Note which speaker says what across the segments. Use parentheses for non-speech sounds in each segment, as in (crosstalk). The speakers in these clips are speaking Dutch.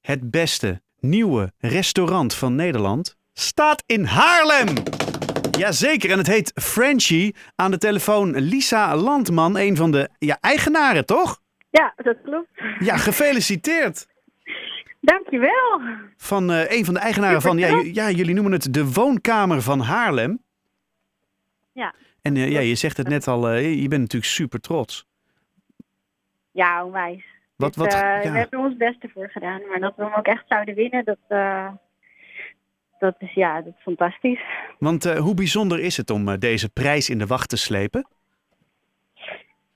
Speaker 1: het beste nieuwe restaurant van Nederland staat in Haarlem. Jazeker, en het heet Frenchie. Aan de telefoon Lisa Landman, een van de ja, eigenaren, toch?
Speaker 2: Ja, dat klopt.
Speaker 1: Ja, gefeliciteerd.
Speaker 2: Dankjewel.
Speaker 1: Van eh, een van de eigenaren van, ja, j- ja, jullie noemen het de woonkamer van Haarlem.
Speaker 2: Ja.
Speaker 1: En eh, ja, je zegt het net al, eh, je bent natuurlijk super trots.
Speaker 2: Ja, onwijs.
Speaker 1: Wat,
Speaker 2: Dus,
Speaker 1: wat,
Speaker 2: eh,
Speaker 1: ja.
Speaker 2: We hebben er ons best ervoor gedaan. Maar dat we hem ook echt zouden winnen, dat, eh, dat is ja, dat is fantastisch.
Speaker 1: Want eh, hoe bijzonder is het om eh, deze prijs in de wacht te slepen?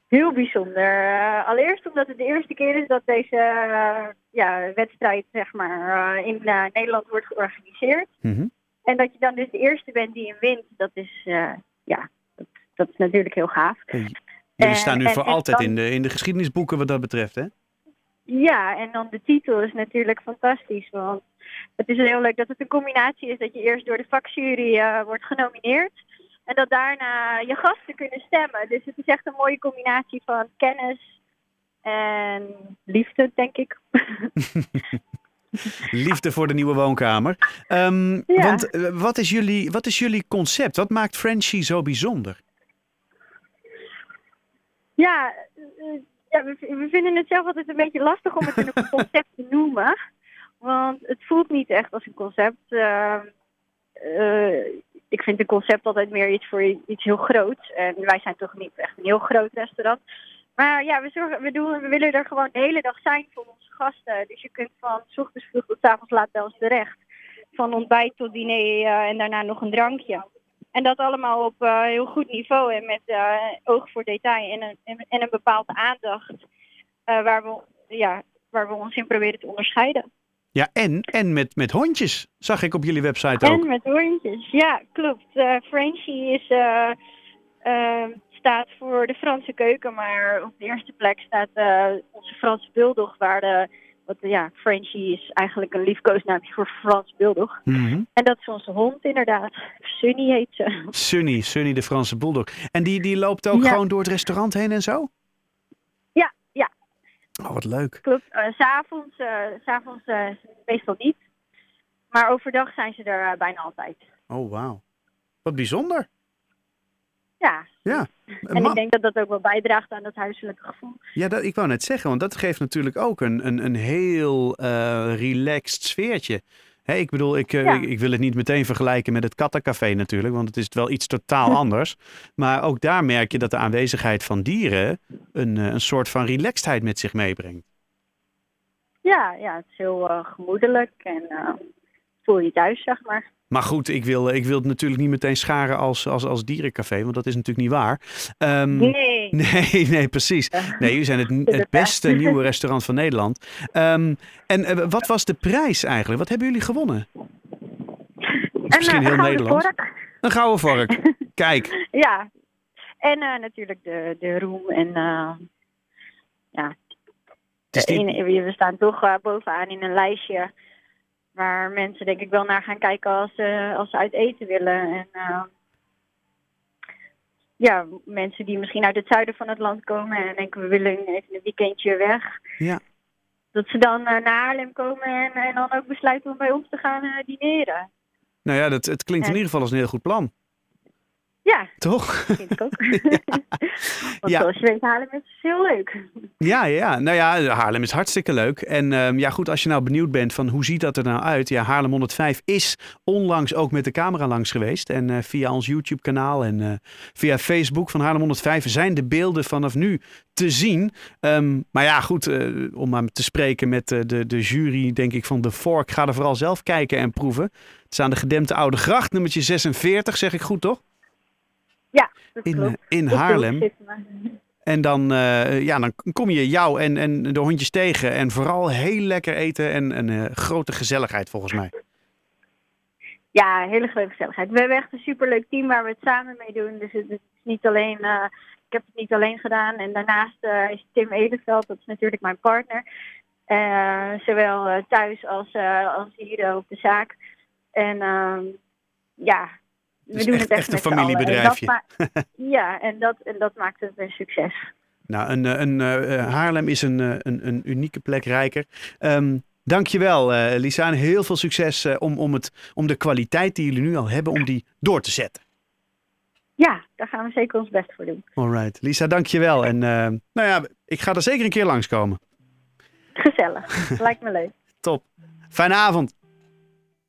Speaker 2: Heel bijzonder. Eh, allereerst omdat het de eerste keer is dat deze eh, ja, wedstrijd zeg maar, eh, in eh, Nederland wordt georganiseerd.
Speaker 1: Mhm.
Speaker 2: En dat je dan dus de eerste bent die hem wint, dat is, eh, ja, dat, dat is natuurlijk heel gaaf.
Speaker 1: Jullie
Speaker 2: Eh,
Speaker 1: staan nu
Speaker 2: en-
Speaker 1: voor
Speaker 2: en
Speaker 1: altijd
Speaker 2: dan-
Speaker 1: in de, in de geschiedenisboeken wat dat betreft, hè?
Speaker 2: Ja, en dan de titel is natuurlijk fantastisch. Want het is heel leuk dat het een combinatie is dat je eerst door de vakjury eh, wordt genomineerd. En dat daarna je gasten kunnen stemmen. Dus het is echt een mooie combinatie van kennis en liefde, denk ik.
Speaker 1: Liefde voor de nieuwe woonkamer. Ehm,
Speaker 2: Ja.
Speaker 1: Want eh, wat, is jullie, wat is jullie concept? Wat maakt Frenchie zo bijzonder?
Speaker 2: Ja, eh, ja we, we vinden het zelf altijd een beetje lastig om het in een concept te noemen. Want het voelt niet echt als een concept. Eh, eh, ik vind een concept altijd meer iets voor iets heel groots. En wij zijn toch niet echt een heel groot restaurant. Maar ja, we, zorgen, we, doen, we willen er gewoon de hele dag zijn voor onze gasten. Dus je kunt van 's ochtends vroeg tot 's avonds laat bij ons terecht. Van ontbijt tot diner eh, en daarna nog een drankje. En dat allemaal op eh, heel goed niveau en met eh, oog voor detail en een, en, en een bepaalde aandacht eh, waar, we, ja, waar we ons in proberen te onderscheiden.
Speaker 1: Ja, en, en met, met hondjes, zag ik op jullie website ook.
Speaker 2: En met hondjes, ja, klopt. Eh Frenchie is, eh, eh, staat voor de Franse keuken, maar op de eerste plek staat eh, onze Franse bulldog, waar de, wat, ja, Frenchie is eigenlijk een liefkoosnaamje voor Frans bulldog.
Speaker 1: Mhm.
Speaker 2: En dat is onze hond inderdaad. Sunny heet ze.
Speaker 1: Sunny, Sunny de Franse bulldog. En die, die loopt ook
Speaker 2: Ja.
Speaker 1: gewoon door het restaurant heen en zo?
Speaker 2: Ja, ja.
Speaker 1: Oh, wat leuk.
Speaker 2: Klopt. Eh, s'avonds eh, s'avonds, eh, meestal niet. Maar overdag zijn ze er eh, bijna altijd.
Speaker 1: Oh, wauw. Wat bijzonder.
Speaker 2: Ja.
Speaker 1: Ja.
Speaker 2: En
Speaker 1: Ma-
Speaker 2: ik denk dat dat ook wel bijdraagt aan dat huiselijke gevoel.
Speaker 1: Ja, dat, ik wou net zeggen, want dat geeft natuurlijk ook een, een, een heel eh, relaxed sfeertje. Hè, ik bedoel, ik, eh,
Speaker 2: Ja.
Speaker 1: ik, ik wil het niet meteen vergelijken met het kattencafé natuurlijk, want het is wel iets
Speaker 2: (laughs)
Speaker 1: totaal anders. Maar ook daar merk je dat de aanwezigheid van dieren een, eh, een soort van relaxedheid met zich meebrengt.
Speaker 2: Ja, ja het is heel eh, gemoedelijk en eh, voel je thuis, zeg maar.
Speaker 1: Maar goed, ik wil, ik wil het natuurlijk niet meteen scharen als, als, als dierencafé, want dat is natuurlijk niet waar. Ehm,
Speaker 2: Nee.
Speaker 1: Nee, nee, precies. Nee, jullie (laughs) zijn het, het beste nieuwe restaurant van Nederland. Ehm, en eh, wat was de prijs eigenlijk? Wat hebben jullie gewonnen? misschien
Speaker 2: en, eh,
Speaker 1: heel
Speaker 2: gouden
Speaker 1: Nederland.
Speaker 2: vork.
Speaker 1: Een gouden (laughs) vork. Kijk,
Speaker 2: Ja. En eh, natuurlijk de, de roem en... eh, ja,
Speaker 1: het is niet-
Speaker 2: in- we staan toch eh, bovenaan in een lijstje waar mensen denk ik wel naar gaan kijken als, ze- als ze uit eten willen. En eh, ja, mensen die misschien uit het zuiden van het land komen en denken we willen even een weekendje weg.
Speaker 1: Ja.
Speaker 2: Dat ze dan eh, naar Haarlem komen en, en dan ook besluiten om bij ons te gaan eh, dineren.
Speaker 1: nou ja, dat, het klinkt in ieder geval als een heel goed plan.
Speaker 2: Ja,
Speaker 1: Toch?
Speaker 2: vind
Speaker 1: (laughs)
Speaker 2: ik ook. (laughs) Want
Speaker 1: Ja.
Speaker 2: zoals je weet, Haarlem is heel leuk.
Speaker 1: Ja, ja, ja. Nou ja, Haarlem is hartstikke leuk. En ehm, ja, goed, als je nou benieuwd bent van hoe ziet dat er nou uit? Ja, Haarlem 105 is onlangs ook met de camera langs geweest. En eh, via ons YouTube-kanaal en eh, via Facebook van Haarlem 105 zijn de beelden vanaf nu te zien. Ehm, maar ja, goed, eh, om maar te spreken met eh, de, de jury, denk ik, van de Fork. Ga er vooral zelf kijken en proeven. Het is aan de gedempte Oude Gracht, nummertje 46, zeg ik goed, toch?
Speaker 2: Ja, dat
Speaker 1: In, eh,
Speaker 2: klopt.
Speaker 1: in
Speaker 2: Op de hoek
Speaker 1: Haarlem.
Speaker 2: zitten we.
Speaker 1: En dan, eh, ja, dan kom je jou en, en de hondjes tegen. En vooral heel lekker eten en een eh, grote gezelligheid volgens mij.
Speaker 2: Ja, hele grote gezelligheid. We hebben echt een superleuk team waar we het samen mee doen. Dus het is niet alleen, eh, ik heb het niet alleen gedaan. En daarnaast eh, is Tim Edenveld, dat is natuurlijk mijn partner. eh, zowel eh, thuis als, eh, als hier eh, op de zaak. En ehm, ja, we
Speaker 1: Dus
Speaker 2: doen
Speaker 1: echt-
Speaker 2: het echt
Speaker 1: echt een
Speaker 2: met z'n allen. En dat
Speaker 1: familiebedrijfje.
Speaker 2: ma-
Speaker 1: (laughs)
Speaker 2: ja, en dat, en dat maakt het een succes.
Speaker 1: Nou, een, eh, een, eh, eh, Haarlem is een, eh, een, een unieke plek rijker. Ehm, Dankjewel, eh Lisa. En heel veel succes eh, om, om, het, om de kwaliteit die jullie nu al hebben, om die door te zetten.
Speaker 2: Ja, daar gaan we zeker ons best voor doen.
Speaker 1: All right. Lisa, dankjewel. En eh, nou ja, ik ga er zeker een keer langskomen.
Speaker 2: Gezellig. Lijkt me leuk.
Speaker 1: Top. Fijne avond.